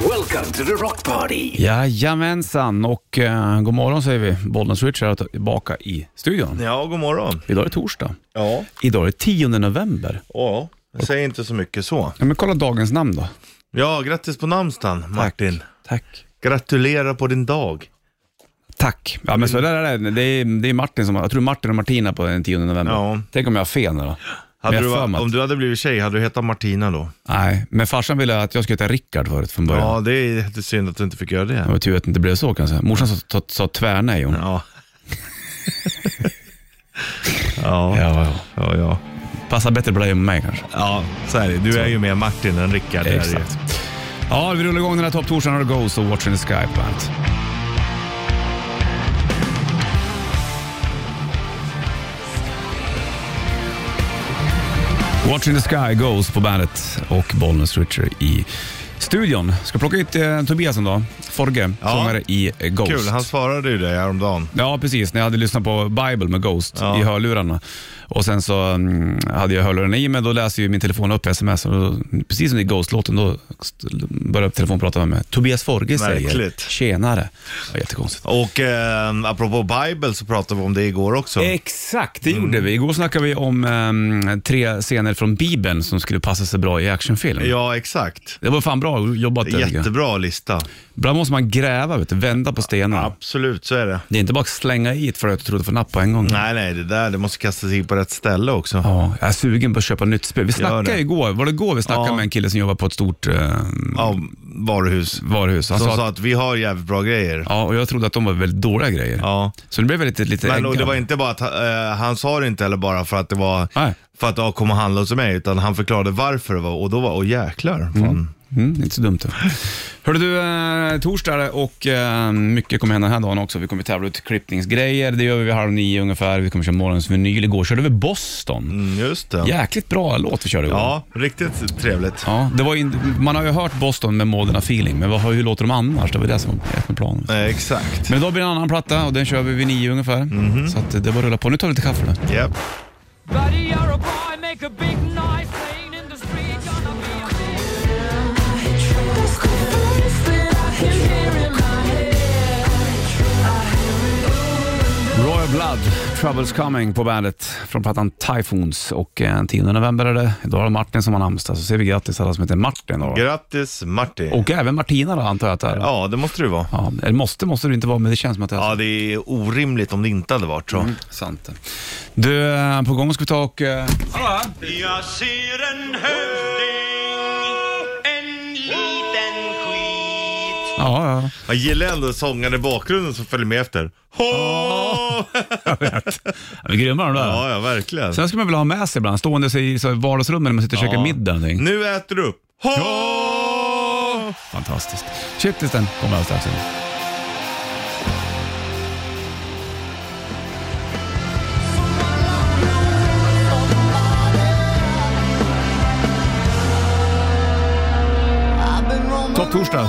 Welcome to the Rock Party. Jajamensan och eh, god morgon säger vi. Bollnäs Richard är tillbaka i studion. Ja, god morgon. Idag är det torsdag. Ja, Idag är det 10 november. ja. Säg inte så mycket så. Ja, men kolla dagens namn då. Ja, grattis på namnsdagen Martin. Tack. Gratulerar på din dag. Tack. Ja, men så där är det. Det är, det är Martin som, jag tror Martin och Martina på den 10 november. Ja. Tänk om jag har fel nu då. Men Hade jag du, har för mig att- om du hade blivit tjej, hade du hetat Martina då? Nej, men farsan ville att jag skulle heta Rickard förut från början. Ja, det är lite synd att du inte fick göra Det det. var tur att det inte blev så kanske. Morsan sa, sa, sa tvärnej hon. Ja. ja, Ja, ja. ja, ja. Passar bättre på dig än på mig kanske. Ja, så är det. Du är ju mer Martin än Rickard. det är det ju. Exakt. Ja, vi rullar igång den här topptorsdagen och Ghost och Watching the Sky på bandet. Watching the Sky, Ghost på bandet och Bollnäs Richard i studion. Ska plocka hit eh, Tobias en dag, Forge, Ja. sångare i eh, Ghost. Kul, han svarade ju det häromdagen. Ja, precis. När jag hade lyssnat på Bible med Ghost Ja. i hörlurarna. Och sen så mm, hade jag hörlurarna i mig, då läser ju min telefon upp sms. Och då, precis som i Ghost-låten, då st- började telefonen prata med mig. Tobias Forge säger Märkligt. ”Tjenare”. Det var jättekonstigt. Och eh, apropå Bible så pratade vi om det igår också. Exakt, det Mm. gjorde vi. Igår snackade vi om ehm, tre scener från Bibeln som skulle passa sig bra i actionfilm. Ja, exakt. Det var fan bra jobbat. där, tycker jag. Jättebra lista. Ibland måste man gräva, vet du, vända på stenarna. Absolut, så är det. Det är inte bara att slänga i ett för att du trodde för napp på en gång. Nej, nej, det där det måste kastas in på rätt ställe också. Ja, jag är sugen på att köpa nytt spel. Vi snackade det. igår, var det igår vi snackade Ja. med en kille som jobbar på ett stort eh, Av varuhus. varuhus. Han Som sa att, sa att vi har jävligt bra grejer. ja, och jag trodde att de var väldigt dåliga grejer. Ja. Så det blev väl lite, lite Men och det äggande. var inte bara att eh, han sa det inte heller bara för att det var Nej. för att jag kom och handla hos mig utan han förklarade varför det var och då var åh jäklar. Fan. Mm, inte så dumt. det. Hörde du, eh, torsdag är det och eh, mycket kommer hända den här dagen också. Vi kommer tävla ut klippningsgrejer, det gör vi vid halv nio ungefär. Vi kommer köra morgonens vinyl. Igår körde vi Boston. Mm, just det. Jäkligt bra låt vi körde igår. Ja, riktigt trevligt. Ja, det var ju in, man har ju hört Boston med Modern Feeling, men vad, hur låter de annars? Det var det som var ett med planen. Eh, exakt. Men då blir det en annan platta och den kör vi vid nio ungefär. Så att eh, det bara rullar på. Nu tar vi lite kaffe då. Japp. Buddy, you're a boy, make a big noise playing in the street, gonna be a big That's the voice that I can hear in my head. Royal Blood, Troubles Coming på bandet från plattan Typhoons. Och eh, 10 november är det. Idag har Martin som har namnsdag, så säger vi grattis till alla som heter Martin. Då. Grattis Martin. Och även Martina då antar jag att det är. Ja. Ja, det måste det vara. eller måste måste det inte vara, men det känns som att det är Ja, det är orimligt om det inte hade varit så. Mm. sant. Du, eh, på gång ska vi ta och... eh, Jag ser en hövding, en liten skit. Ja, ja. Jag gillar ändå sångaren i bakgrunden som följer med efter. Ho! Vi är grymma de där. Ja, ja, verkligen. Sen ska man väl ha med sig ibland, stående sig i så här vardagsrummen när man sitter och käkar middag eller någonting. Nu äter du upp. Ho! Fantastiskt. Shitlisten kommer alldeles strax. Topptorsdag,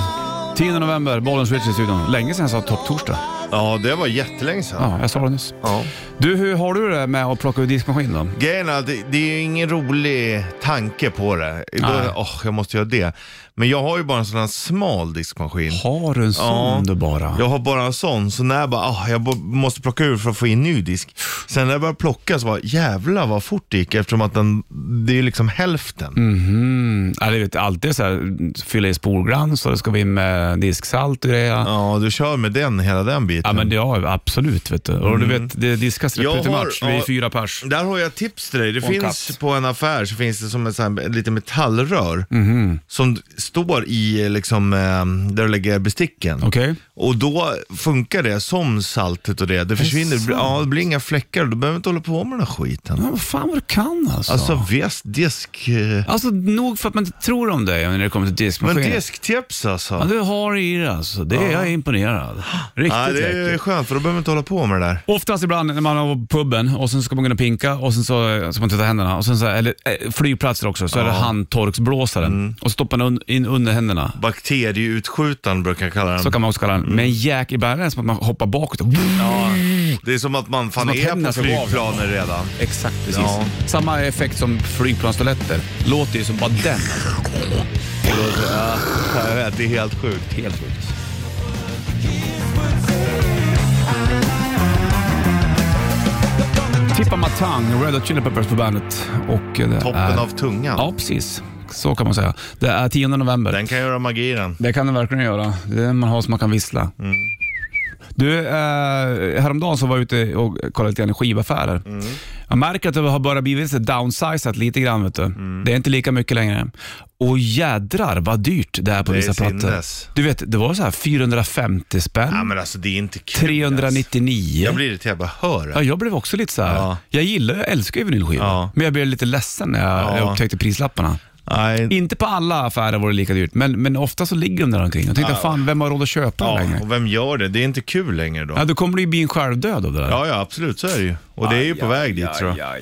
10 november, Bollens Switch i studion. Länge sedan jag sa topptorsdag. Ja, det var jättelänge sedan. Ja, jag sa det nyss. Ja. Du, hur har du det med att plocka ur diskmaskinen då? Grejen är att det, det är ju ingen rolig tanke på det. Nej. Då, åh, jag måste göra det. Men jag har ju bara en sån här smal diskmaskin. Har du en sån Ja. du bara? Jag har bara en sån, så när jag bara, ah, jag bo- måste plocka ur för att få in ny disk. Sen när jag började plocka så var jävla vad fort det gick eftersom att den, det är ju liksom hälften. Mhm. Ja, det vet, alltid så här, fylla i spolglans och det ska vi in med disksalt och grejer. Ja. Ja, du kör med den, hela den biten. Ja, men det, ja, absolut. Vet du. Och du vet, det diskas Mm. Jag rätt ut i har- match. Vi är ja. fyra pers. Där har jag ett tips till dig. Det Och en finns katt. på en affär så finns det som ett, så här, lite metallrör Mhm. som står i eh, liksom, eh, där du lägger besticken. Okej? Och då funkar det som saltet och det. Det försvinner, det blir, ja, det blir inga fläckar du behöver inte hålla på med den här skiten. Ja, vad fan vad du kan alltså. Alltså alltså. visst, disk... eh, nog för att man inte tror om dig när det kommer till Men diskmaskinen. disktips alltså. Ja, du har i det alltså. Det är jag är imponerad. Riktigt ja, det är läckert. skönt för då behöver man inte hålla på med det där. Oftast ibland när man är på puben och sen ska man gå in och pinka och sen så eh, ska man tvätta händerna. Och sen så här, eller eh, flygplatser också, så är det handtorksblåsaren. Mm. Och så stoppar man un- in under händerna. Bakterieutskjutaren brukar jag kalla den. Så kan man också kalla den. Mm. Men jäk, ibland är det som att man hoppar bakåt. Ja. Det är som att man fan Som att är tänderna på ska gå av. flygplanen redan. Exakt, precis. Ja. Samma effekt som flygplanstoaletter. Låter ju som bara den. alltså. låter. Ja, jag vet, det är helt sjukt. Helt sjukt. Tippa Matang, Red Hot Chili Peppers på bandet. Och eh, det Toppen är... av tungan. Ja, precis. Så kan man säga. Det är 10 november. Den kan göra magi den. Det kan den verkligen göra. Det är den man har som man kan vissla. Mm. Du, eh, häromdagen så var jag ute och kollade lite grann i skivaffärer. Mm. Jag märker att det har börjat bli lite downsizat lite grann. Vet du. Mm. Det är inte lika mycket längre. Och jädrar vad dyrt det är på Det är vissa plattor. sinnes. Du vet, det var så här 450 spänn, Ja, men alltså det är inte kul. alltså. 399. Jag blir irriterad bara hör Ja, det. jag blev också lite så här. Ja. Jag gillar, jag älskar ju vinylskivor. Ja. Men jag blev lite ledsen när jag, Ja. jag upptäckte prislapparna. Nej. Inte på alla affärer var det lika dyrt, men, men ofta så ligger de där omkring. Jag tänkte, fan vem har råd att köpa den Ja, längre? och vem gör det? Det är inte kul längre då. Ja, då kommer det ju bli en självdöd av det där. Ja, ja, absolut så är det ju. Och det är ju på väg dit tror jag.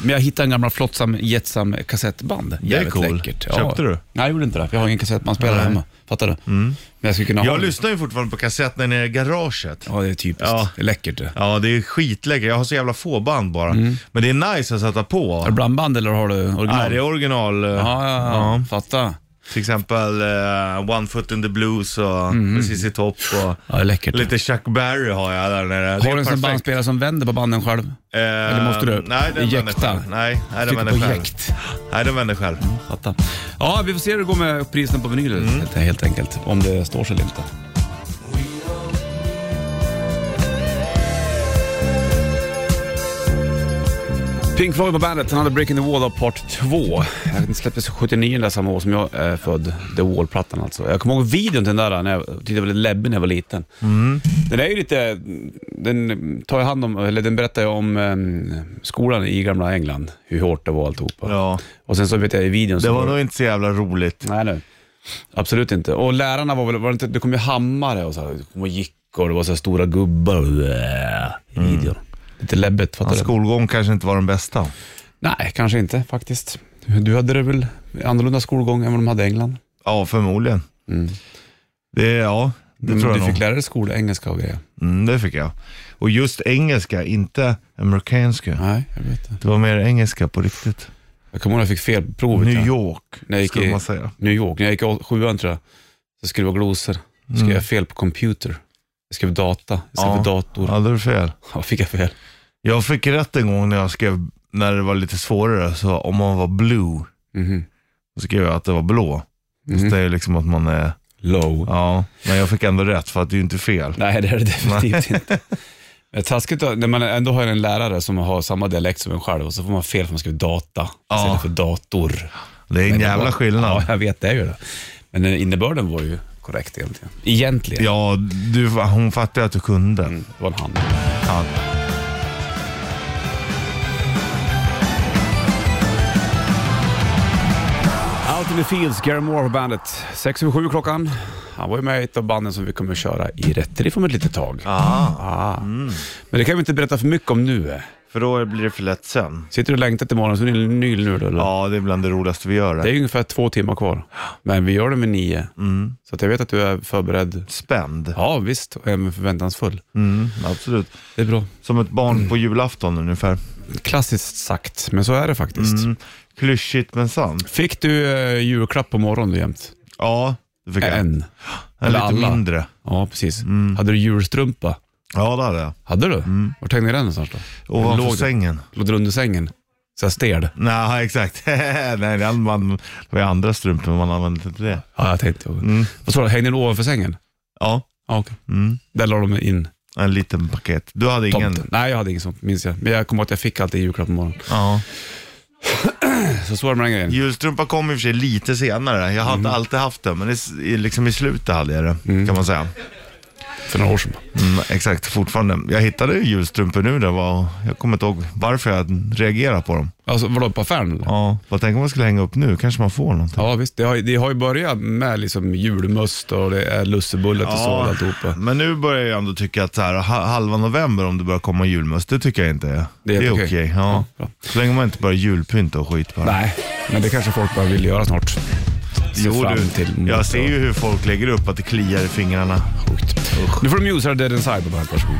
Men jag hittade en gammal flottsam Jetsam kassettband. är cool. läckert. Köpte du? Nej, jag gjorde inte det. Jag har ingen kassettbandspelare Nej. Mm. hemma. Fattar du? Men jag skulle kunna ha Jag det. lyssnar ju fortfarande på kassetterna nere i garaget. Ja, det är typiskt. Ja. Det är läckert det. Ja, det är skitläckert. Jag har så jävla få band bara. Mm. Men det är nice att sätta på. Har du blandband eller har du original? Nej, det är original. eh, ja, ja, ja. Fatta. Till exempel eh, One Foot in the Blues och Mm. Precis i topp och Ja, det är läckert. lite Chuck Berry har jag där nere. Det har är du en sån perfekt. bandspelare som vänder på banden själv? Eh, Eller måste du Nej, den vänder ejekta? själv. Nej, nej den Sitter vänder på själv. jäkt. Mm. Nej, den vänder själv. Fatta. Ja, vi får se hur det går med priserna på vinyl Mm. helt, helt enkelt. Om det står sig eller inte. Pink Floyd på bandet, han hade Breaking the Wall av part 2. Den släpptes 79 där samma år som jag är född. The Wall-plattan alltså. Jag kommer ihåg videon till den där när jag tyckte jag var lite läbbig när jag var liten. Mm. Den är ju lite, den tar jag hand om, eller den berättar jag om em, skolan i gamla England. Hur hårt det var alltihopa. Ja. Och sen så vet jag i videon så Det var nog inte så jävla roligt. Nej, nej. Absolut inte. Och lärarna var väl, var det, inte, det kom ju hammare och så här, det kom och gick och det var så här stora gubbar och blä, i Mm. videon. Lite läbbigt, fattar Hans du? skolgång kanske inte var den bästa. Nej, kanske inte faktiskt. Du hade det väl annorlunda skolgång än vad de hade i England? Mm. Ja, förmodligen. Det, ja, det Men tror jag Mm, Du nog. fick lära dig skolengelska och grejer. Mm, det fick jag. Och just engelska, inte amerikanska. Nej, jag vet det. Det var mer engelska på riktigt. Jag kommer ihåg att jag fick fel på provet. New ja. York, När jag gick skulle i- man säga. New York. När jag gick i sjuan tror jag, så skrev jag glosor. Så skrev jag fel på computer. Jag skrev data. Jag skrev Mm. Ja. dator. Ja, det är fel. Ja, fick jag fel? Jag fick rätt en gång när jag skrev, när det var lite svårare, så om man var blue, Mhm. så skrev jag att det var blå. Så det är liksom att man är, Low. ja, men jag fick ändå rätt för att det är ju inte fel. Nej, det är det definitivt inte. Det är taskigt att- när man ändå har en lärare som har samma dialekt som en själv och så får man fel för man skriver data istället för dator. Det är en Men det var- jävla Ja, skillnad. jag vet, det är ju det. Men den innebörden var ju korrekt egentligen. Egentligen. Ja, du, hon fattade att du kunde. Mm, Det var en hand. Ja. Out in the fields, Gary Moore på bandet. 6 över 7 klockan. Han var ju med i ett av banden som vi kommer köra i rätt om ett litet tag. Ah. Men det kan vi inte berätta för mycket om nu. eh. För då blir det för lätt sen. Sitter du och längtar till morgon så är det nyl nu då? Eller? Ja, det är bland det roligaste vi gör. Det är ungefär två timmar kvar, men vi gör det med nio. Mm. Så att jag vet att du är förberedd. Spänd. Ja, visst. Och även förväntansfull. Mm, absolut. Det är bra. Som ett barn på julafton ungefär. Klassiskt sagt, men så är det faktiskt. Mm. Klyschigt men sant. Fick du eh, julklapp på morgonen då jämt? Ja, det fick jag. Mm. En, En. eller lite alla. mindre. Ja, precis. Hade du julstrumpa? Ja, det hade jag. Hade du? Mm. Var tänkte du den någonstans då? Ovanför Låg- sängen. Låg den under sängen? Så här stel? Nej, exakt. Nej, det, hade man, det var ju andra strumpor man använde inte det. Ja, jag tänkte. Mm. Vad sa du? Hängde den ovanför sängen? Ja, Ja, okej. Mm. Där la de in en liten paket. Du hade ingen? tomten. Nej, jag hade inget sånt, minns jag. Men jag kommer ihåg att jag fick alltid julklapp på morgonen. Ja. Så så är det med den grejen. Julstrumpa kom i och för sig lite senare. Jag hade alltid haft det, men det, s- i- liksom i slutet hade jag det, kan man säga. För några år sedan. Mm, exakt, fortfarande. Jag hittade ju julstrumpor nu. Det var, jag kommer inte ihåg varför jag reagerade på dem. Alltså vadå, på affären eller? Ja. Ja, vad tänk om man skulle hänga upp nu? Kanske man får någonting. visst, det har, ju- det har ju börjat med liksom julmust och det är lussebullet och så och alltihopa. men nu börjar jag ändå tycka att så här, ha- halva november om det börjar komma julmust, det tycker jag inte är. Det är helt okej. ja. Ja, bra. Så länge man inte börjar julpynta och skit bara. Nej, men det kanske folk bara vill göra snart. Se Jo, fram du, till mot- jag ser ju hur folk lägger upp att det kliar i fingrarna. Sjukt. Nu får du Muse här, Dead Inside på bandet. Varsågod.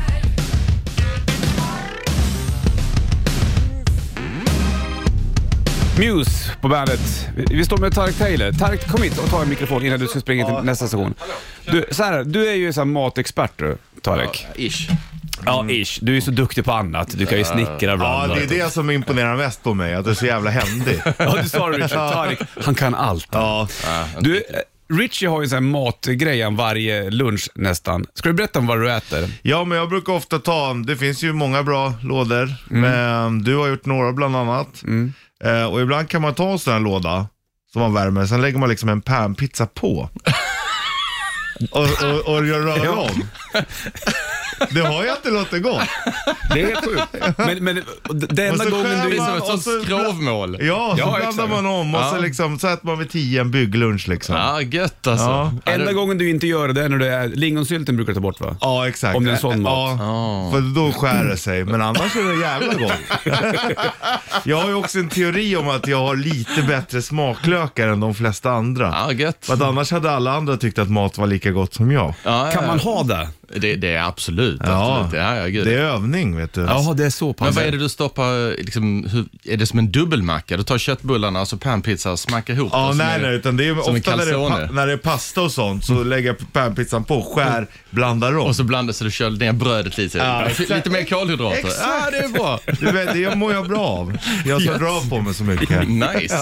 Muse på bandet. Vi- Vi står med Tarek Taylor. Tarek, kom hit och ta en mikrofon innan du ska springa till nästa session. Du, så här, du är ju så här matexpert du, Tarek. Ish. Ja, ish. Du är så duktig på annat. Du kan ju snickra Ja, ibland. det är det som imponerar mest på mig, att du är så jävla händig. typ. Ja, du sa det Richard. Tarek, han kan allt. Ja. Du, eh, Richie har ju en sån här matgrej han varje lunch nästan. Ska du berätta om vad du äter? ja, men jag brukar ofta ta, det finns ju många bra lådor, men du har gjort några bland annat. Eh, och ibland kan man ta en sån här låda som man värmer, sen lägger man liksom en panpizza på. och, och, och gör rör om. Det har jag inte låtit gå. Det är helt sjukt. Men, men det Och enda så gången skär Det du... är som man- ett och sånt så- skrovmål. Ja, så Ja, blandar exakt. man om och Ja. så, liksom, så äter man vid tio en bygglunch liksom. Ja, gött alltså. Ja. Ja, Enda det- gången du inte gör det, det är när du är... Lingonsylten brukar du ta bort va? Ja, exakt. Om det är en sån ja, mat. Ah. För då skär det sig, men annars är det jävla gott. jag har ju också en teori om att jag har lite bättre smaklökar än de flesta andra. Ja, gött. För att annars hade alla andra tyckt att mat var lika gott som jag. Ja, Kan ja. man ha det? Det, det är absolut. Ja. absolut. Ja, ja, gud. Det är övning, vet du. Jaha, det är så Men pass. vad är det du stoppar, liksom, hur, är det som en dubbelmacka? Du tar köttbullarna och så panpizza och smackar ihop Ja, det som nej, en- nej, utan det är som en ofta när det är, calzone. Mm. pa- när det är pasta och sånt så lägger jag panpizzan på, skär, blandar om. Och så blandar så du kör ner brödet lite. Ja, exakt. lite mer kolhydrater. Exakt. Ja, det är bra. Du vet, det mår jag bra av. Jag har så bra på mig så mycket. Nice.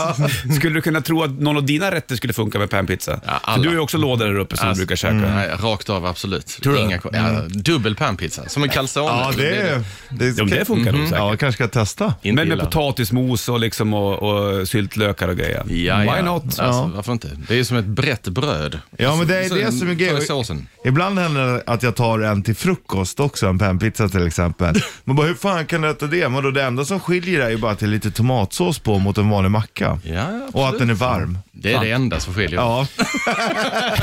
Skulle du kunna tro att någon av dina rätter skulle funka med panpizza? Ja, alla. Alltså, mm. För du har ju också lådor där uppe som du brukar käka. Nej, rakt av, absolut. Inga, ko- ja, dubbel panpizza, som en calzone. Mm. Ja, det, är- det, Ja, men det funkar nog säkert. Ja, jag kanske ska testa. Mm-hmm. Inte Men med illa. potatismos och, liksom och, och syltlökar och grejer. Ja, ja. Why not? Alltså, Varför inte? Det är ju som ett brett bröd. Ja, men det är Så- det som är grejen. Ta i såsen. Ibland händer det att jag tar en till frukost också, en panpizza till exempel. Man bara, hur fan kan du äta det? Men då det enda som skiljer är ju bara att det är lite tomatsås på mot en vanlig macka. Ja, absolut. Och att den är varm. Det är det enda som skiljer. Ja.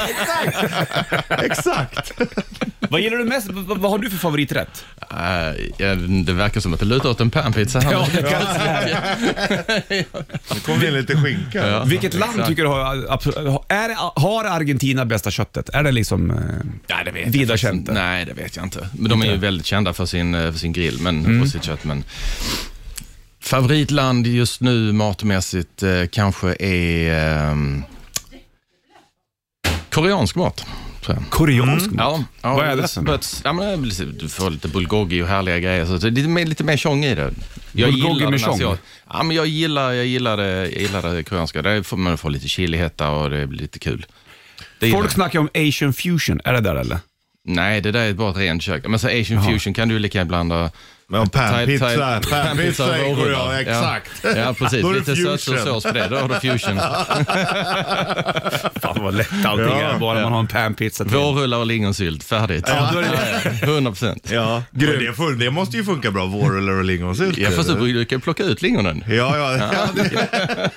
Exakt. Exakt. Vad gillar du mest? Vad, vad har du för favoriträtt? Äh, ja, det verkar som att det lutar åt en panpizza här. Ja, Nu kom det in lite skinka. Ja. Vilket Exakt. land tycker du har, absolut- är, det- har Argentina bästa köttet? Är det liksom eh, Nej, det vet jag vida faktiskt känt? inte. Nej, det vet jag inte. Men de är ju väldigt kända för sin, eh, för sin grill men, Mm. och sitt kött. Men favoritland just nu matmässigt eh, kanske är ehm, koreansk mat. tror jag. Koreansk mat? Ja, ja, Vad är det but- sen? but- ja, men det är väl lite- du får lite bulgogi och härliga grejer. Så det är lite mer, lite mer tjong i det. Jag Bulgogi gillar med den asiat- tjong? Ja, men jag gillar, jag gillar, det, jag gillar det koreanska. Där får man får lite chilihetta och det blir lite kul. Det gillar Folk jag. snackar om asian fusion, är det där eller? Nej, det där är bara ett rent kök. Men så asian fusion kan du ju lika gärna blanda... Men Thai- panpizza, thai- panpizza går och rårubbar. jag, exakt. Ja, ja precis. Då är det lite sötsur fusion. sås på det. Då har du fusion. Fan vad lätt allting Ja. är, bara man har en panpizza till. Vårrullar och lingonsylt, färdigt. Ja, då är det- 100 procent. Ja, och det, fun- det måste ju funka bra, vårrullar och lingonsylt. Ja, fast eller? du kan ju plocka ut lingonen. ja, ja, ja. det-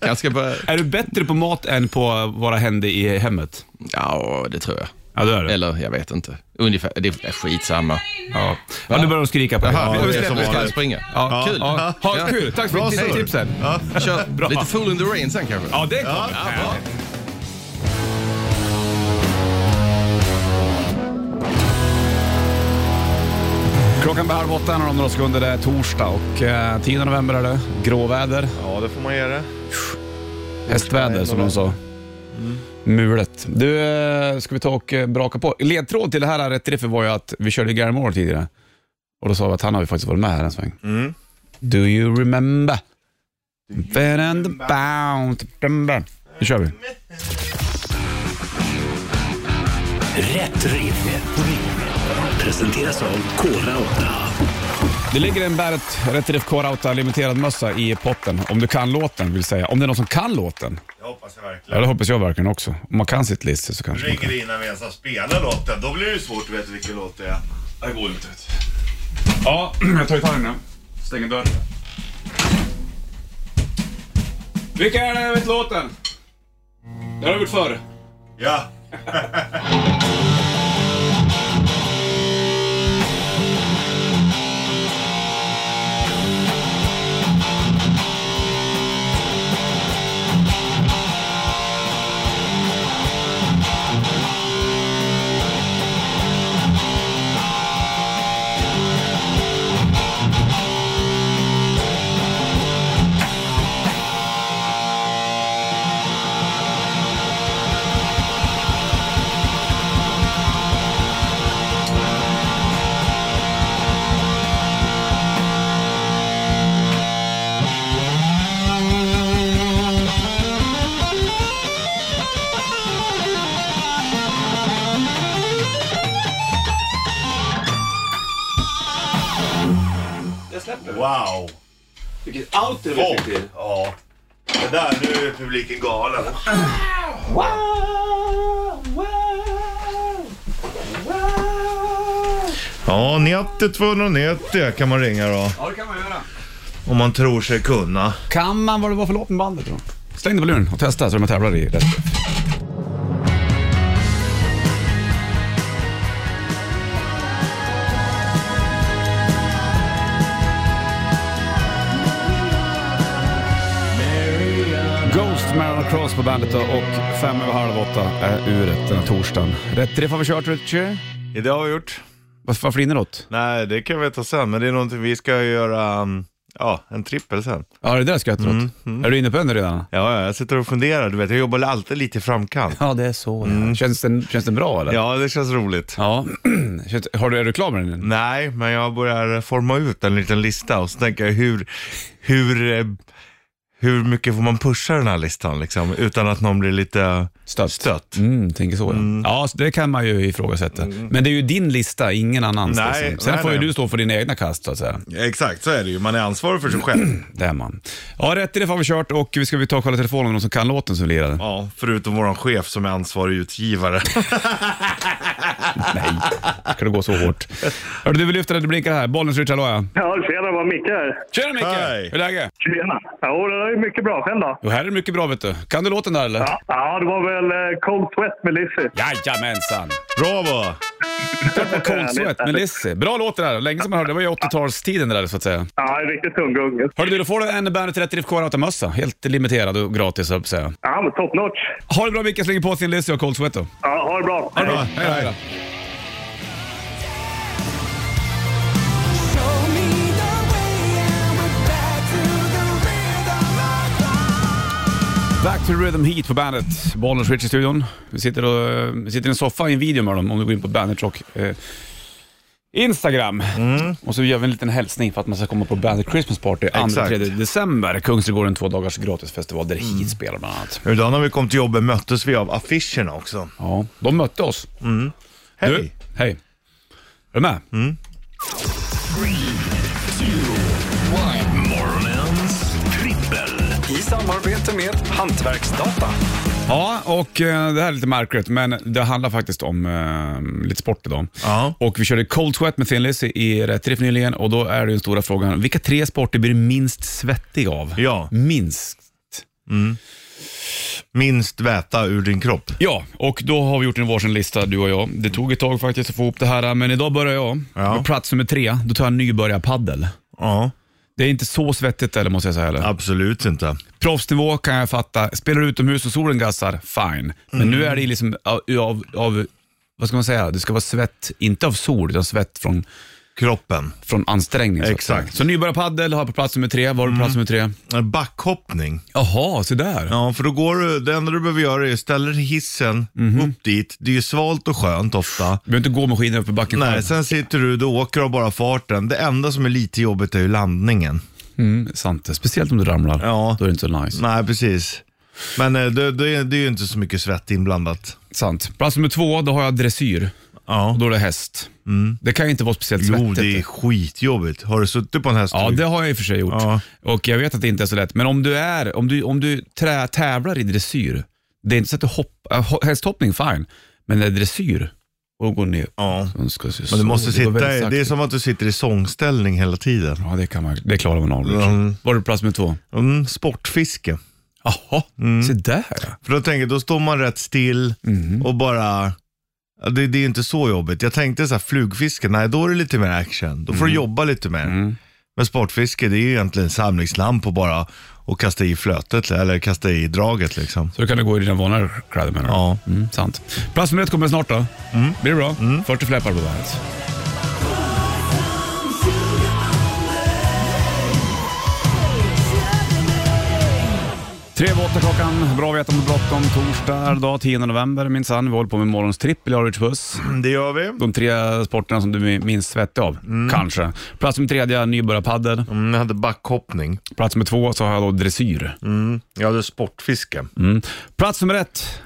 Kanske bara... Är du bättre på mat än på vad vara händer i hemmet? Ja, det tror jag. Ja, det är du. Eller jag vet inte. Ungefär. Det är skitsamma. Ja. ja, nu börjar de skrika på dig. Jaha, det är vi som släpper- vi ska vanligt. springa. Ja, Kul. Ja. Ha, kul. Tack Bra för surr. tipsen. Ja. Kör lite Fool in the Rain sen kanske. Ja, det är klart. Klockan är halv åtta, en av de några sekunder. Det är torsdag och eh, 10 november är det. Gråväder, ja, det får man göra. hästväder som de sa. Mulet. Du, eh, ska vi ta och eh, braka på? Ledtråd till det här eh, Rätt Riffet var ju att vi körde Gary Moore tidigare. Och då sa vi att han har ju faktiskt varit med här en sväng. Mm. Do you remember? Bend and bound. Nu kör vi. Rätt riff. Rätt riff. Presenteras av Kora 8. Det ligger en Barrett Rätt Riff K-Rauta limiterad mössa i potten. Om du kan låten vill säga. Om det är någon som kan låten. Jag hoppas jag verkligen. Ja, det hoppas jag verkligen också. Om man kan sitt list så kanske man kan. Ringer det innan vi ens har spelat låten, då blir det ju svårt att veta vilken låt det är. Det går inte. Ja, jag tar gitarren nu. Stänger dörren. Vilka är det vet låten? Det har du gjort förr. Ja. Wow! Vilket outro Folk. Ja. Det där, nu är publiken galen. Ja, 90 290 kan man ringa då. Ja, det kan man göra. Om man tror sig kunna. Kan man vad det var för låt med bandet då? Släng dig på luren och testa så de tävlar i rätt. Ghost Marilyn Cross på bandet då, och fem över halv åtta är uret den här torsdagen. Rätt drift har vi kört Richie. Det har vi gjort. Varför, varför inneråt? Nej, det kan vi ta sen, men det är någonting vi ska göra, um, ja, en trippel sen. Ja, det där ska jag mm, Är du inne på den redan? Ja, ja, jag sitter och funderar, du vet, jag jobbar alltid lite i framkant. Ja, det är så. Mm. Känns, den, känns den bra eller? Ja, det känns roligt. Ja. Känns- Har du, är du klar med den? än? Nej, men jag börjar forma ut en liten lista och så tänker jag hur, hur, eh, hur mycket får man pusha den här listan liksom, utan att någon blir lite Stött. stött. Mm, tänker så ja. Ja, så det kan man ju ifrågasätta. Men det är ju din lista, ingen annans. Mm. Nej, dessutom. Sen nej, får ju nej. du stå för dina egna kast så att säga. Exakt, så är det ju. Man är ansvarig för sig själv. Det är man. Ja, rätt i det har vi kört och vi ska vi ta och kolla telefonen med någon som kan låten som lirade. Ja, förutom våran chef som är ansvarig utgivare. Nej, ska det gå så hårt? Hörru du, vi lyfter det, det blinkar här. Bollens Richard, hallå ja. Ja, tjena, vad Micke här. Tjena Micke! Hej. Hur är läget? Tjena. Jo, det är mycket bra. Själv då? Jo, här är det mycket bra vet du. Kan du låten där eller? Ja, ja det var väl eh, Cold Sweat med Lizzy. Jajamensan! Bravo! Cold Sweat med Lizzy. Bra låt det där. Länge som man hörde. Det var ju 80-talstiden det där så att säga. Ja, en riktigt tung gunge. Hörru du, då får du en Bandet 30 Drift K-Rauta-mössa. Helt limiterad och gratis så att säga. Ja, men top notch. Ha det bra Micke, slänger på sin Lizzy och Cold Sweat då. Ja, ha det bra. Hej. Bra. Hej, hej. Show me the way and we're back to the rhythm of Back to Rhythm Heat på bandet. Bollnäs Rich i studion. Vi sitter, och, eh, vi sitter i en soffa i en video med dem om du går in på Bandit Rock. Eh, Instagram. Mm. Och så gör vi en liten hälsning för att man ska komma på Bandit Christmas Party 2-3 Exakt. Mm. december. Kungsträdgården, två dagars gratisfestival där Heat spelar bland annat. Idag när vi kom till jobbet möttes vi av affischerna också. Ja, de mötte oss. Hej! Du, hej. Är du med? Morgonens trippel. I samarbete med Hantverksdata. Ja, och eh, det här är lite märkligt, men det handlar faktiskt om eh, lite sport idag. Ja. Och vi körde Cold Sweat med Thin Lizzy i Rätt Riff nyligen och då är det den stora frågan, vilka tre sporter blir du minst svettig av? Ja. Minst. Minst väta ur din kropp. Ja, och då har vi gjort en varsin lista du och jag. Det tog ett tag faktiskt att få ihop det här, men idag börjar jag. Ja. På plats nummer tre, då tar jag nybörjarpaddel. Ja, Det är inte så svettigt eller måste jag säga heller. absolut inte. Proffsnivå kan jag fatta. Spelar du utomhus och solen gassar, fine. Men nu är det Mm. liksom av, av, av, vad ska man säga, det ska vara svett, inte av sol, utan svett från, Kroppen. från ansträngning. så att Exakt. Mm. säga. Så nybörjarpadel har jag på plats nummer tre. Var har du på plats nummer tre? Backhoppning. Jaha, så där. Ja, för då går du, det enda du behöver göra är att ställa dig i hissen Mhm. upp dit. Det är ju svalt och skönt ofta. Du behöver inte gå med skidorna upp i backen Nej, själv. sen sitter du, du åker av bara farten. Det enda som är lite jobbigt är ju landningen. Mm, sant det. Speciellt om du ramlar. Ja. Då är det inte så nice. Nej, precis. Men eh, det, det, det är ju inte så mycket svett inblandat. Sant. Plats nummer två, då har jag dressyr. Ja. Mm. Och då är det häst. Det kan ju inte vara speciellt Jo, svettigt. det är skitjobbigt. Har du suttit på en häst? Ja, det har jag i och för sig gjort. Ja. Och jag vet att det inte är så lätt. Men om du, är, om du, om du trä, tävlar i dressyr, det är inte så att du äh, hoppar, hästhoppning fine, men det är dressyr, och går ner. Ja. Man ska se så, Men du måste det går sitta väldigt i, det är sakta. som att du sitter i sångställning hela tiden. Ja, det, kan man, det klarar man av. Mm. Var du plats med två? Mm, sportfiske. Jaha, Mm. se där. För då tänker jag, då står man rätt still Mhm. och bara, ja, det, det är inte så jobbigt. Jag tänkte så här, flugfiske, nej då är det lite mer action. Då får Mhm. du jobba lite mer. Mm. Men sportfiske, det är ju egentligen samlingslamp och bara och kasta i flötet eller kasta i draget liksom. Så då kan du gå i dina vanliga kläder menar du? Ja. Mm, sant. Plats nummer ett kommer snart då. Blir det bra? 40 fläppar på bandet. Tre över åtta klockan, bra att veta om det är bråttom. Torsdag är det dag 10 november minsann. Vi håller på med morgons trippel i Arvids buss. Det gör vi. De tre sporterna som du är minst svettig av, kanske. Plats nummer tredje, nybörjarpadel. Mm, jag hade backhoppning. Plats nummer två så har jag då dressyr. Mm. Jag hade sportfiske. Plats nummer ett.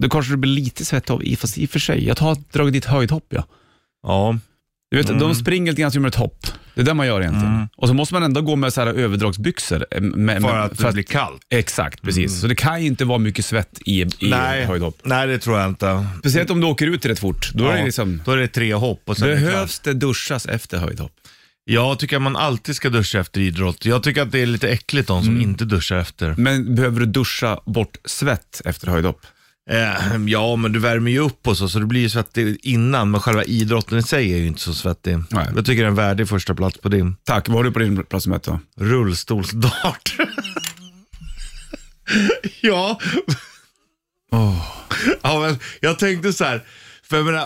Det kanske du blir lite svettig av, i- fast i och för sig. Jag har dragit dit höjdhopp ja. Ja. Mm. Du vet, de springer lite grann som ett hopp. Det är det man gör egentligen. Och så måste man ändå gå med så här överdragsbyxor. eh, Med, För med- att det blir kallt. Exakt, precis. Så det kan ju inte vara mycket svett i, i höjdhopp. nej, det tror jag inte. Speciellt om du åker ut rätt fort. Då är det Ja, liksom, då är det tre hopp och sen är det klart. behövs det duschas efter höjdhopp? Jag tycker att man alltid ska duscha efter idrott. Jag tycker att det är lite äckligt de som inte duschar efter. Men behöver du duscha bort svett efter höjdhopp? Eh, ja, men du värmer ju upp och så, så du blir ju svettig innan. Men själva idrotten i sig är ju inte så svettig. Nej. Jag tycker det är en värdig första plats på din. Tack, vad har du på din plats nummer ett då? Rullstolsdart. ja. ja men jag tänkte så här, för jag menar,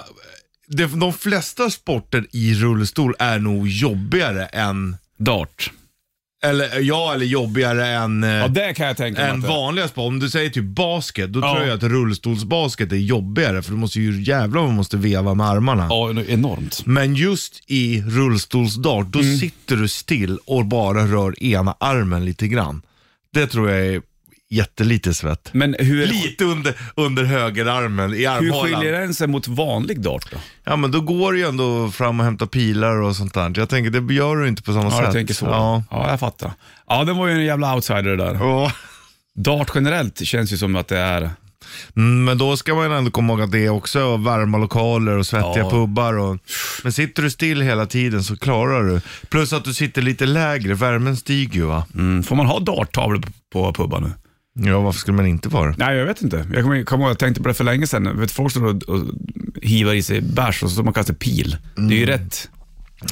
det, de flesta sporter i rullstol är nog jobbigare än, Dart. eller ja, eller jobbigare än eh, Ja, det kan jag tänka mig. än att det- vanliga sport. Om du säger typ basket, då Ja. tror jag att rullstolsbasket är jobbigare för du måste ju jävla man måste veva med armarna. Ja, enormt. Men just i rullstolsdart, då Mm. sitter du still och bara rör ena armen lite grann. Det tror jag är jättelite svett. Men hur, Lite under, under högerarmen, i hur armhålan. skiljer den sig mot vanlig dart då? Ja men då går du ju ändå fram och hämtar pilar och sånt där. Jag tänker, det gör du inte på samma Ja, sätt. jag tänker så. Ja. Ja. jag fattar. Ja, den var ju en jävla outsider det där. Ja. Dart generellt känns ju som att det är... Mm, Men då ska man ändå komma ihåg att det är också varma lokaler och svettiga Ja. pubbar. Och, men sitter du still hela tiden så klarar du. Plus att du sitter lite lägre, värmen stiger ju va? Mm, får man ha darttavlor på, på pubbar nu? Ja, varför skulle man inte vara det? Nej, jag vet inte. Jag kommer kommer ihåg, jag tänkte på det för länge sedan. Vet, folk står och, och hivar i sig bärs och så står man och kastar pil. Det är ju rätt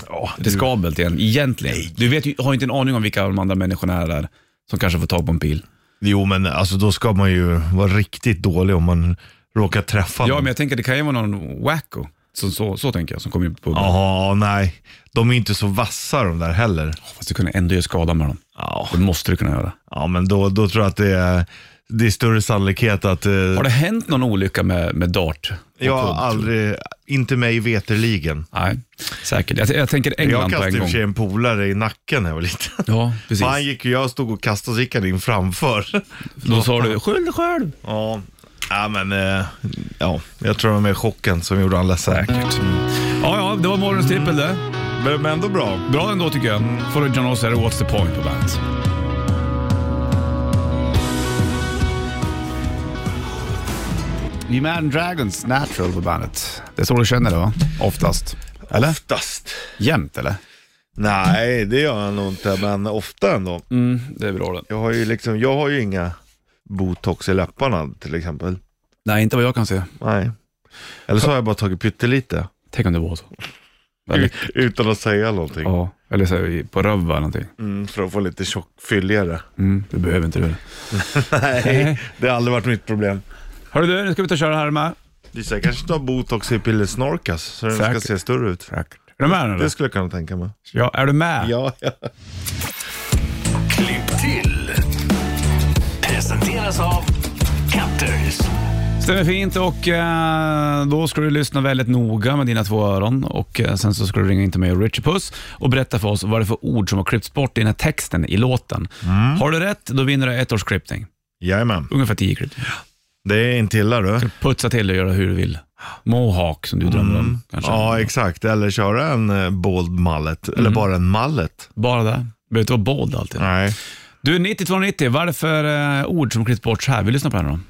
Ja, det ska... riskabelt igen, egentligen. Du vet, ju- har ju inte en aning om vilka de andra människorna är där som kanske får tag på en pil. Jo, men alltså då ska man ju vara riktigt dålig om man råkar träffa Ja, någon. men jag tänker det kan ju vara någon wacko. Så, så, så tänker jag, som kommer in på pubben. Jaha, nej. De är inte så vassa de där heller. Fast du kunde ändå göra skada med dem. Ja, Det måste du kunna göra. ja men då, då tror jag att det är, det är större sannolikhet att... Eh, Har det hänt någon olycka med, med dart? och jag har pub? aldrig, inte mig veterligen. Nej, säkert. Jag, jag tänker England jag på kastade en i och gång. för sig en polare i nacken när jag var liten. Ja, precis. Han gick och jag stod och kastade så gick han in framför. Då sa du, skyll dig själv. ja. ja, men eh, ja, jag tror det var mer chocken som gjorde han ledsen. Säkert. Ja, ja, det var morgonens trippel det. Men, men ändå bra. Bra ändå tycker jag. Får du John Oss här, What's the point på bandet. Imagine Dragons Natural på bandet. Det är så du känner det va? Oftast. Eller? Oftast. Jämt eller? Nej, det gör han nog inte, men ofta ändå. Mm, det är bra det. Jag har ju liksom, jag har ju inga botox i läpparna till exempel. Nej, inte vad jag kan se. Nej. Eller så har jag bara tagit pyttelite. Tänk om det var så. Eller, Ut, utan att säga någonting. ja, eller så här, i- på röv eller någonting. Mm, för att få lite tjock, fylligare. Mm, du behöver inte det. Nej, det har aldrig varit mitt problem. Hörru du, nu ska vi ta och köra här med. Lisa, jag kanske tar botox i pillesnorkas så den Säkert. ska se större ut. Är du med nu? eller? Det skulle jag kunna tänka mig. Ja, är du med? Ja, ja. Klipp till. Presenteras av Cutters. Stämmer fint och eh, då ska du lyssna väldigt noga med dina två öron och eh, sen så ska du ringa in till mig och Richie Puss och berätta för oss vad det är för ord som har klippts bort i den här texten i låten. Har du rätt, då vinner du ett års klippning. Jajamän. Ungefär tio klippningar. Det är inte illa du. Putsa till och göra hur du vill. Mohawk som du drömmer om kanske. Ja, exakt. Eller köra en eh, bold mallet. Eller bara en mallet. Bara det. Behöver inte vara bold alltid. Mm. Nej. Du, 9290, vad är det för eh, ord som klippts bort så här? Vi lyssnar på den här då.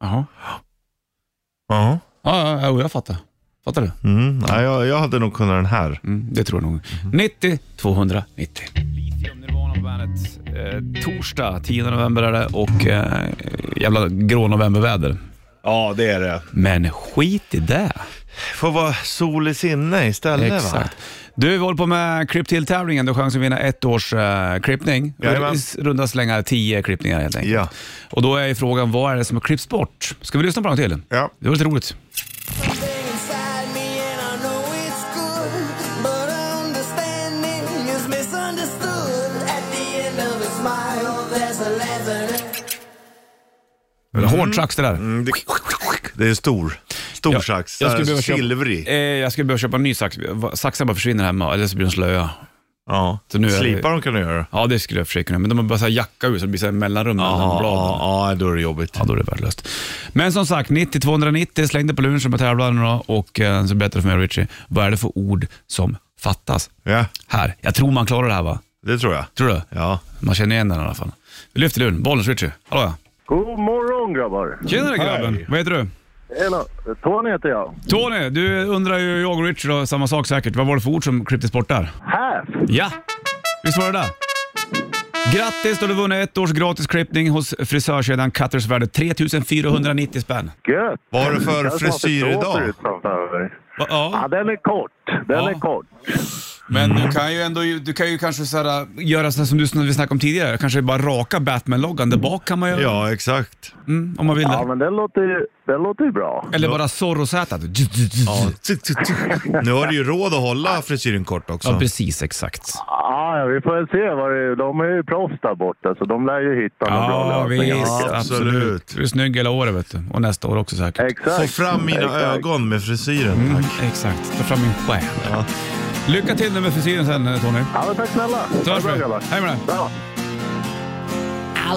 Jaha. Ja. Ja, ja, ja, jag fattar. Fattar du? Mm. Nej, jag, jag hade nog kunnat den här. Mm, det tror jag nog. 90 290. Lithium, Nirvana på bandet. Eh, torsdag 10 november är det och eh, jävla grå novemberväder. Ja, det är det. Men skit i det. Får vara sol i sinne istället va? Exakt. Du, vi håller på med klipp till-tävlingen. Du har chans att vinna ett års eh, klippning. Jajamän. I Runda slängar tio klippningar helt enkelt. Ja. Och då är ju frågan, vad är det som har klippts bort? Ska vi lyssna på något till? Ja. Det var lite roligt. Mm. Hård sax det där. Mm, Det, det är stor. Stor Ja, sax. jag skulle Där, behöva köpa- Silvrig. Eh, jag skulle behöva köpa en ny sax. Va- Saxen bara försvinner hemma, eller så blir den slöa. Ja. Så nu är det- Slipar de kan du göra. Ja, det skulle jag försöka kunna, men de har bara så här jacka ut så det blir så här mellanrum mellan Ja, bladen. ja, ja, då är det jobbigt. Ja, då är det värdelöst. Men som sagt, 90-290 slängde på luren som jag tävlar idag och eh, så berättade för mig Richie, vad är det för ord som fattas Ja, här? Jag tror man klarar det här va? det tror jag. Tror du? Ja. Man känner igen den i alla fall. Vi lyfter luren. Bollnäs Richie. Hallå ja. God morgon grabbar! Tjenare grabben. Vad heter du? Tjena! Tony heter jag. Tony, du undrar ju jag och Richie då, samma sak säkert. Vad var det för ord som klipptes bort där? Half! Ja, visst var det där? Grattis, då har du vunnit ett års gratis klippning hos frisörkedjan Cutters värde 3490 spänn. Gött! Vad har du för frisyr idag? Va- Ja. Ja, den är kort. Den Ja. är kort. Men du kan ju ändå, du kan ju kanske så här, äh, göra så här som du som vi snackade om tidigare, kanske bara raka Batman-loggan där bak kan man göra Ja, exakt. mm, om man vill Ja, det. men den låter ju, den låter ju bra. Eller bara Zorro-Z. Ja. Tick, tick, tick. Nu har du ju råd att hålla frisyren kort Ja, också. precis exakt. Ah, Ja, ja, vi får väl se. Vad det, de är ju proffs där borta, så de lär ju hitta några bra Ja, visst. lösningar. absolut. Du är snygg hela året vet du. och nästa år också säkert. Mm, Få Exakt. fram mina Exakt. ögon med frisyren, tack. Exakt, ta fram min stjärn. Lycka till nu med frisyren sen eh, Tony. Ja, men tack snälla. Så hörs Ha vi. det bra, grabbar. Hej med dig. Bra.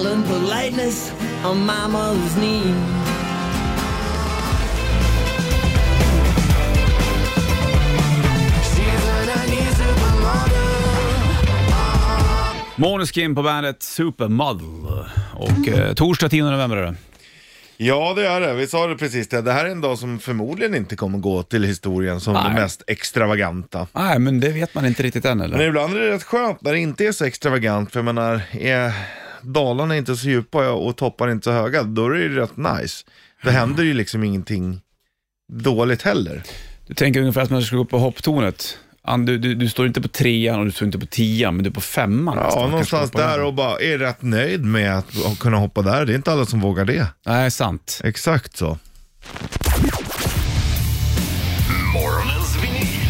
I learned politeness on my mother's knee. She's an unusable model. Måneskin på bandet Supermodel. Och eh, torsdag 10 november är det. Ja, det är det. Vi sa det precis. Det Det här är en dag som förmodligen inte kommer gå till historien som den Nej. mest extravaganta. Nej, men det vet man inte riktigt än eller? Men ibland är det rätt skönt när det inte är så extravagant, för jag menar, är dalarna inte så djupa och topparna inte så höga, då är det ju rätt nice. Det händer ju liksom ingenting dåligt heller. Du tänker ungefär att man ska gå upp på hopptornet. Ann, Du, du, du står inte på trean och du står inte på tian, men du är på femman. Ja, nästan. någonstans Kanske på där den. och bara är rätt nöjd med att kunna hoppa där. Det är inte alla som vågar det. Nej, sant. Exakt så. Morgonens vinyl.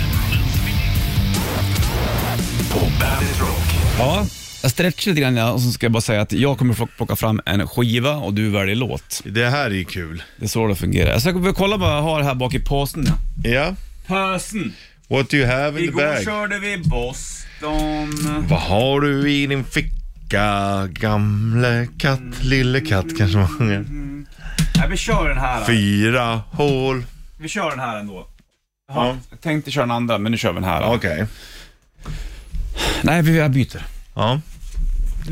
På Bandit Rock. Ja. Jag stretchar lite grann ja, och så ska jag bara säga att jag kommer få plocka fram en skiva och du väljer låt. Det här är ju kul. Det är så det fungerar. Jag ska gå och kolla vad jag har här bak i påsen. Ja. Påsen. What do you have in the bag? körde vi Boston. Vad har du i din ficka? Gamle katt, lille katt kanske man sjunger. Nej, vi kör den här. Fyra hål. Vi kör den här ändå. Ja. Jag tänkte köra den andra, men nu kör vi den här. Okej. Nej, vi, jag byter. Ja.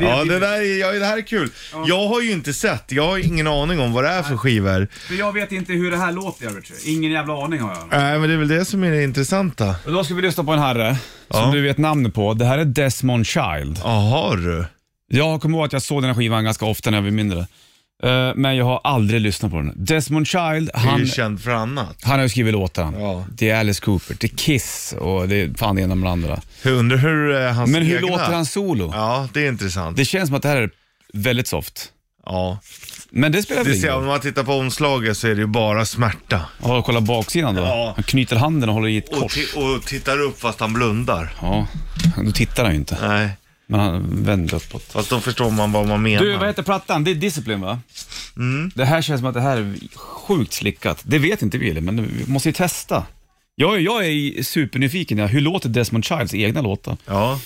Ja, det, där är, ja, det här är kul. Jag har ju inte sett, jag har ingen aning om vad det är för skivor. För jag vet inte hur det här låter, jag vet Ingen jävla aning har jag. Nej, men det är väl det som är det intressanta. Och då ska vi lyssna på en herre Ja. som du vet namnet på. Det här är Desmond Child. Jaha du. Jag kommer ihåg att jag såg den här skivan ganska ofta när jag var mindre. Eh, Men jag har aldrig lyssnat på den. Desmond Child, Du är ju han, känd för annat. han har ju skrivit låtar. Ja. Det är Alice Cooper, det är Kiss och det är fan det ena med det andra. Jag undrar hur eh, hans Men hur egna... låter han solo? Ja, det är intressant. Det känns som att det här är väldigt soft. Ja. Men det spelar väl Det ingen ser, om roll? man tittar på omslaget så är det ju bara smärta. Ja, Kolla baksidan då. Ja. Han knyter handen och håller i ett Och, kors. ti- och tittar upp fast han blundar. Ja, då tittar han ju inte. Nej, Men han vänder uppåt. fast då förstår man vad man menar. Du, vad heter plattan? Det är Discipline va? Det här känns som att det här är sjukt slickat. Det vet inte vi eller, men vi måste ju testa. Jag, jag är supernyfiken. ja. Hur låter Desmond Childs egna låtar? Ja,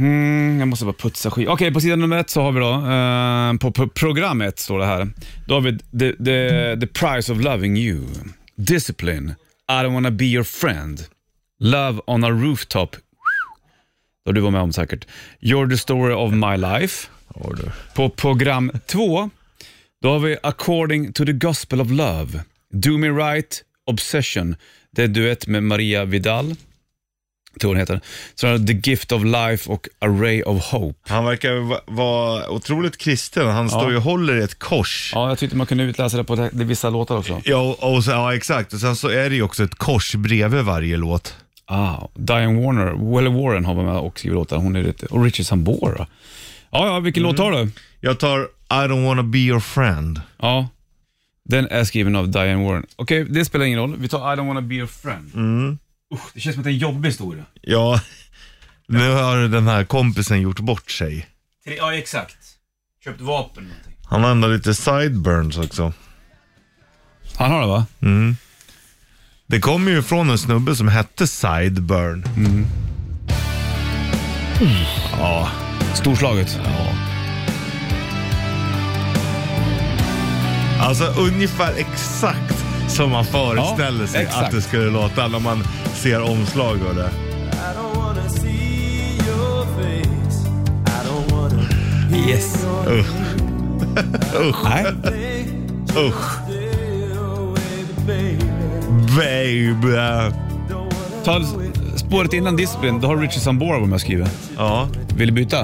Mm, jag måste bara putsa skit. Okej, på sidan nummer ett så har vi då, eh, på, på programmet står det här. Då har vi the, the, the price of loving you. Discipline. I don't wanna be your friend. Love on a rooftop. Då du var med om säkert. You're the story of my life. På program två, då har vi According to the gospel of love. Do me right, Obsession. Det är en duett med Maria Vidal tror den heter. Sen har du The Gift of Life och Array of Hope. han verkar va- vara otroligt kristen. Han står ju och håller i ett kors. Ja. Ja, jag tyckte man kunde utläsa det på det, det är vissa låtar också. och, och så, ja, exakt. Och sen så är det ju också ett kors bredvid varje låt. Ah, Diane Warner, Well Warren har varit med och skrivit låtar. Hon är lite, och Richard Sambora. Ja, ja, vilken låt tar du? Jag tar I don't wanna be your friend. Ja, den är skriven av Diane Warren. Okej, det spelar ingen roll. Vi tar I don't wanna be your friend. Usch, det känns som att det är en jobbig historia. Ja, nu har den här kompisen gjort bort sig. Tre- Ja, exakt. Köpt vapen eller någonting. Han har ändå lite sideburns också. Han har det va? Det kommer ju från en snubbe som hette Sideburn. Ja, storslaget. Alltså ungefär exakt som man föreställer Ja, sig exakt. att det skulle låta när man ser omslag och det. Yes. Usch, Nej. usch. Baby. Ta spåret innan Discipline, då har du Richie Sambora med jag skriver. Ja, Vill du byta?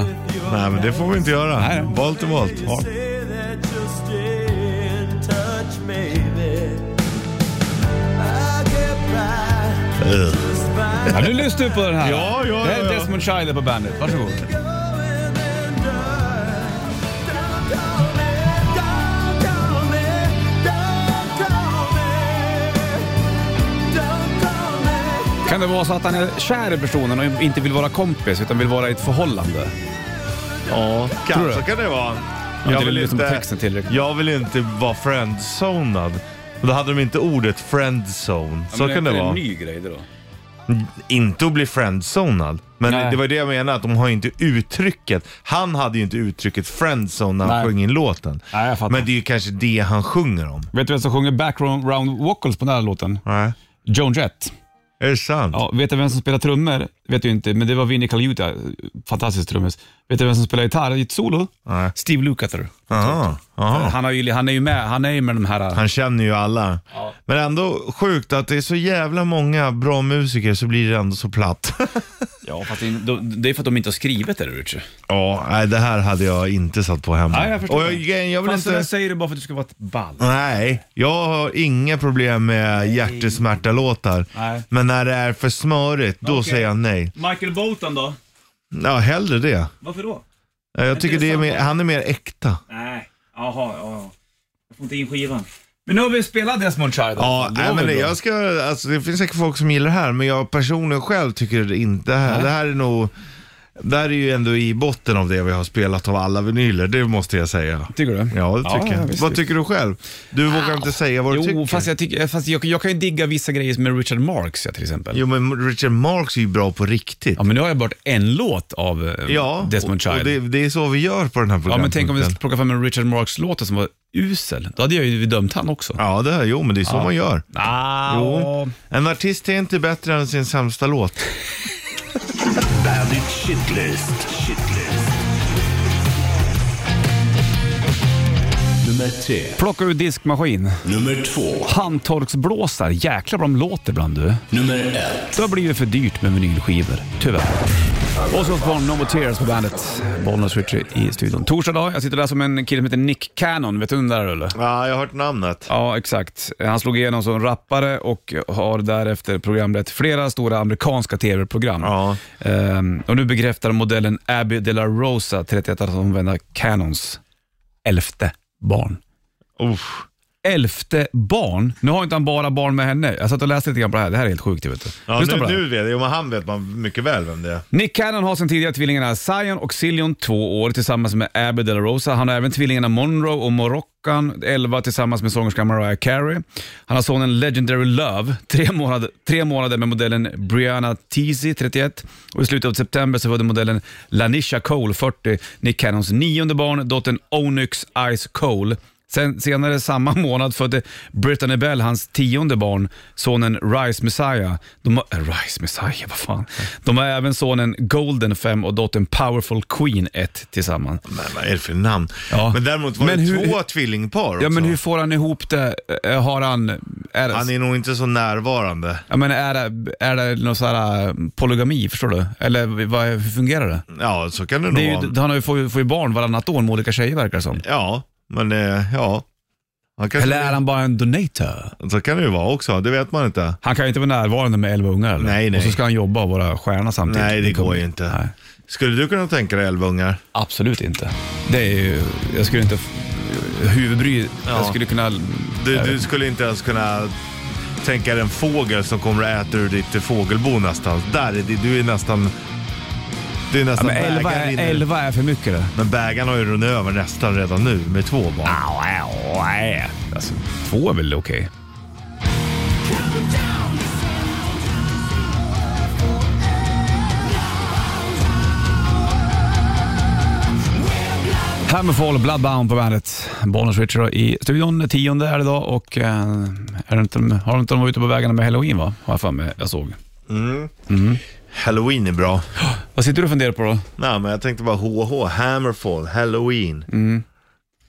nej men det får vi inte göra. Nej. Volt är volt. Ja. Ugh. Ja, nu lyssnar du på den här. Ja, ja, Det här ja, är ja. Desmond Child på bandet. Varsågod. Kan det vara så att han är kär i personen och inte vill vara kompis utan vill vara i ett förhållande? Ja, Tror du? kanske kan det vara. inte lyssnat på texten tillräckligt. jag vill inte vara friendzonad. Då hade de inte ordet friendzone. Så kan det är vara. en ny grej det då. Inte att bli friendzonad. Men Nej. det var det jag menade, att de har ju inte uttrycket. Han hade ju inte uttrycket friendzone när han Nej. sjöng in låten. Nej, jag fattar. Men det är ju kanske det han sjunger om. Vet du vem som sjunger background vocals på den här låten? Nej. Joan Jett. Är det sant? Ja, vet du vem som spelar trummor? Vet du inte, men det var Vinnie Caliuta. Fantastisk trummis. Vet du vem som spelar gitarr i ett solo? Nej. Steve Luke heter du. Aha. Aha. Han, har ju, han är ju med, han är ju med de här... Han känner ju alla. Men ändå sjukt att det är så jävla många bra musiker så blir det ändå så platt. Ja, fast det, de- det är för att de inte har skrivit det, Richard. Ja, nej det här hade jag inte satt på hemma. Nej, jag förstår. Och jag, jag, jag vill Fast inte... jag säger det bara för att du ska vara ett ball. Nej, jag har inga problem med hjärtesmärta-låtar. Nej. Men när det är för smörigt, då Okej. säger jag nej. Michael Bolton då? Ja, hellre det. Varför då? Jag tycker det är Intressant. mer, han är mer äkta. Nej, jaha, ja. Jag får inte in skivan. Men nu har vi spelat Desmond Child. Ja, Det var nej, väl men det, bra. jag ska, alltså, det finns säkert folk som gillar det här, men jag personligen själv tycker det inte. Det här, det här är nog... Det här är ju ändå i botten av det vi har spelat av alla vinyler, det måste jag säga. Tycker du? Ja, det Ja, tycker jag. visst, Vad visst. Ah. tycker du själv? Du vågar inte säga vad du tycker. Jo, fast, jag, tycker, fast jag, jag kan ju digga vissa grejer med Richard Marx ja, till exempel. Jo, men Richard Marx är ju bra på riktigt. Ja, men nu har jag bara en låt av eh, Ja, Desmond och, Child. och det, det är så vi gör på den här Ja, men programpunkten. tänk om vi skulle plocka fram en Richard Marx-låt som var usel. Då hade jag ju dömt han också. Ja, det här, jo, men det är så man gör. Ah, Jo. En artist är inte bättre än sin sämsta låt. Bandit Shitlist. Shitlist. Nummer tre. Plocka ur diskmaskin. Nummer två. Handtorksblåsar. Jäklar vad de låter ibland du. Nummer ett. Det har blivit för dyrt med vinylskivor, tyvärr. Och så från No More Tears på bandet. Bollnäs Ritchie i studion. Torsdag dag, jag sitter där som en kille som heter Nick Cannon. Vet du vem det där är, eller? Ja, jag har hört namnet. Ja, exakt. Han slog igenom som rappare och har därefter programlett flera stora amerikanska tv-program. Ja. Ehm, och nu bekräftar modellen Abby De La Rosa, 31 att omvända Canons elfte barn. Uff. Elfte barn? Nu har inte han bara barn med henne. Jag satt och läste lite grann på det här. Det här är helt sjukt. Vet du. Ja, Lyssna nu, på det här. nu vet jag. Jo, men han vet man mycket väl vem det är. Nick Cannon har sedan tidigare tvillingarna Zion och Cillian två år tillsammans med Abby De La Rosa. Han har även tvillingarna Monroe och Moroccan, 11 tillsammans med sångerskan Mariah Carey. Han har sonen Legendary Love, tre månader, tre månader med modellen Brianna Teasy, 31. Och i slutet av september så födde modellen Lanisha Cole, 40, Nick Cannons nionde barn, dottern Onyx Ice Cole. Sen, senare samma månad födde Brittany Bell hans tionde barn, sonen Rice Messiah. De har, äh, Rice Messiah, vad fan. De har även sonen Golden 5 och dottern Powerful Queen 1 tillsammans. Men vad är det för namn? Ja. Men däremot var Men det hur- två tvillingpar också. Ja, men hur får han ihop det? Eh, Har han... Är, Han det är nog inte så närvarande. jag menar, är det, är det någon sån här eh, polygami, förstår du? Eller vad, hur fungerar det? Ja, så kan det, det nog är vara. ju, han har ju, får, ju- får ju barn varannat år med olika tjejer verkar det som. Ja, men eh, ja. Han kanske... Eller är han bara en donator? Så kan det ju vara också. Det vet man inte. Han kan ju inte vara närvarande med elva ungar eller? Nej, nej. Och så ska han jobba och vara stjärna samtidigt. Nej, det går kommer- ju inte. Nej, Skulle du kunna tänka dig elva ungar? absolut inte. Det är ju, jag skulle inte, huvudbry, jag skulle kunna... Du, jag vet du inte. skulle inte ens kunna tänka dig en fågel som kommer att äta ur ditt fågelbo nästan. Där är det, du är nästan... Du är ja, nästan men elva, bägaren är, inne. elva är för mycket det. Men bägaren har ju runnit över nästan redan nu med två barn. Alltså, två är väl okej? Hammerfall, Bloodbound på bandet. Bonus Richard i studion, tionde är det idag och eh, är det inte, har de inte de varit ute på vägarna med halloween va? Har jag för mig, jag såg. Halloween är bra. Vad sitter du och funderar på då? Nej, men jag tänkte bara HH, Hammerfall, Halloween,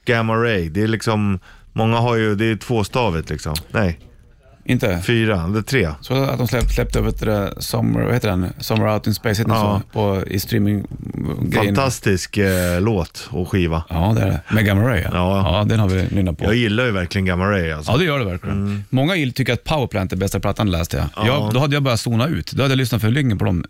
Gamma Ray. Det är liksom, många har ju, det är tvåstavigt liksom. Nej, Inte? fyra, det är tre. Så att de släpp, släppte över till det Summer, vad heter den? Summer Out in Space, heter den Ja. så? På, I streaminggrejen. Fantastisk eh, låt och skiva. Ja, det är det. Med Gamma Ray ja. Ja. ja den har vi nynnat på. Jag gillar ju verkligen Gamma Ray alltså. Ja, det gör det verkligen. Många gill- tycker att Powerplant är bästa plattan, läste jag. jag. Då hade jag börjat zona ut. Då hade jag lyssnat för länge på dem.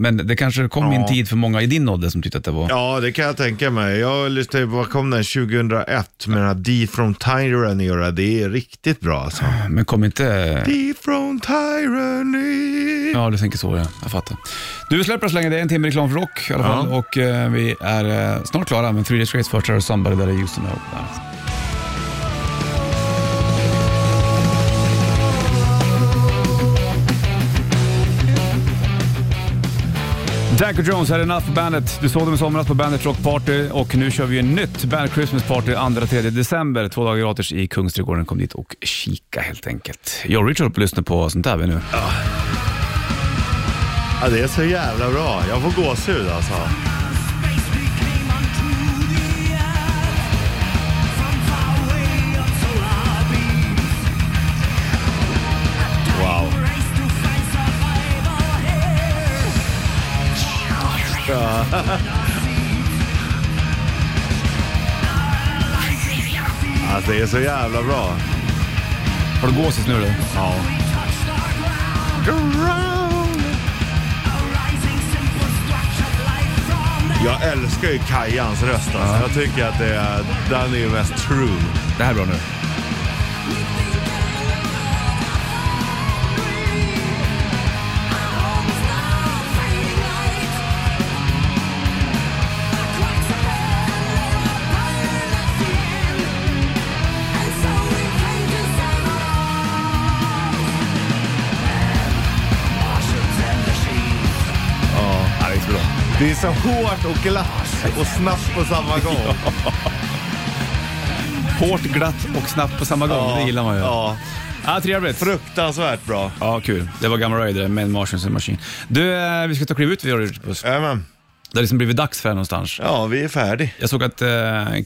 Men det kanske kom Ja. en tid för många i din ålder som tyckte att det var... Ja, det kan jag tänka mig. Jag lyssnade ju på, vad kom den, 2001 med den här D from Tyranny Det är riktigt bra alltså. Men kom inte... D from Tyranny. Ja, du tänker så ja. Jag fattar. Du, vi släpper oss länge. Det är en timme reklam för rock i alla fall. Och eh, vi är eh, snart klara. Men Three Days Grace först här Somebody That I Used To Know. Bandet. Danko Jones, här är Enough på bandet. Du såg dem i somras på Bandet Rock Party och nu kör vi en nytt Bandet Christmas Party 2-3 december. Två dagar gratis i Kungsträdgården. Kom dit och kika helt enkelt. Jag och Richard lyssnar på sånt där vi nu. Ja, det är så jävla bra. Jag får gåshud alltså. Wow. Alltså det är så jävla bra. Har du gåsis nu eller? Ja. Jag älskar ju Kajans röst alltså. Jag tycker att det är, den är ju mest true. Det här är bra nu. Ja, det är så bra. Det är så hårt och glatt och snabbt på samma gång. Hårt, glatt och snabbt på samma gång. Det gillar man ju. Ja, Ja, trevligt. fruktansvärt bra. Ja, kul. Det var Gamma Ray det där, med Martians and Machine. Du, eh, vi ska ta och kliva ut vid Rödpuss. Jajamän. Det har liksom blivit dags för här någonstans. Ja, vi är färdig. Jag såg att eh,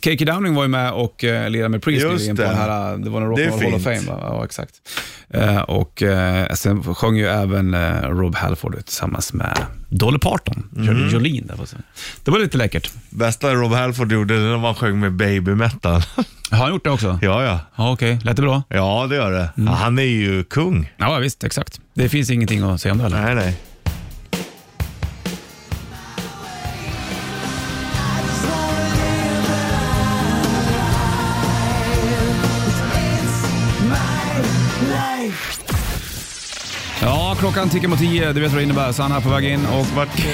K.K. Downing var ju med och eh, lirade med Priest Just nyligen på det. den här, eh, det var en Det är Rock'n'Roll Hall of fint. Fame. Va? Ja, exakt. Eh, och eh, sen sjöng ju även eh, Rob Halford ut tillsammans med Dolly Parton, mm. Jolene. Där på scen. det var lite läckert. Bästa Rob Halford gjorde det när man sjöng med baby metal. Har han gjort det också? ja, ja. Ja, okej. Lät det bra? Ja, det gör det. Ja, han är ju kung. Ja, visst. Exakt. Det finns ingenting att säga om det heller. Nej, nej. Ja, klockan tickar mot tio. Du vet vad det innebär. Sanna är på väg in och Vart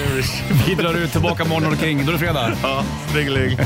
vi drar ut tillbaka morgon och kring. Då är det fredag. Ja, stringling.